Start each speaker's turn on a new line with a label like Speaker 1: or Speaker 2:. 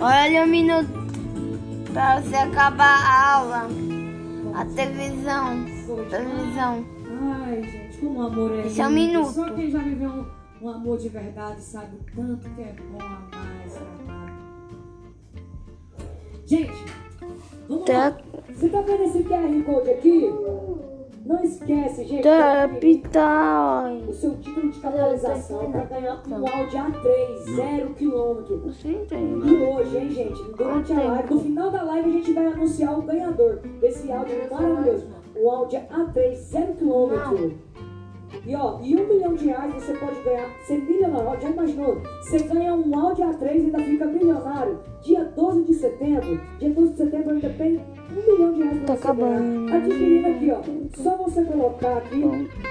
Speaker 1: Olha um minuto para você acabar a aula. A televisão. Televisão.
Speaker 2: Ai, gente, como o amor é.
Speaker 1: Esse é um
Speaker 2: lindo.
Speaker 1: minuto.
Speaker 2: Só quem já viveu um, um amor de verdade sabe o tanto que é bom amar e ser amado. Gente, vamos lá.
Speaker 1: Tá.
Speaker 2: Você tá vendo esse QR Code aqui? Não esquece, gente. tá
Speaker 1: é
Speaker 2: aqui.
Speaker 1: Capital.
Speaker 2: o seu título de capitalização para ganhar um Audi A3, zero quilômetro.
Speaker 1: Você entende?
Speaker 2: E hoje, hein, gente, durante a live, no final da live a gente vai anunciar o ganhador desse Audi maravilhoso. Um O Audi A3, zero quilômetro. E ó, e um milhão de reais você pode ganhar. Você é milionário, já imaginou? Você ganha um Audi A3 e ainda fica milionário. Dia 12 de setembro, dia 12 de setembro ainda tem um milhão de reais pra
Speaker 1: Tá
Speaker 2: você ganhar.
Speaker 1: acabando.
Speaker 2: Adquirindo aqui, ó. Só você colocar aqui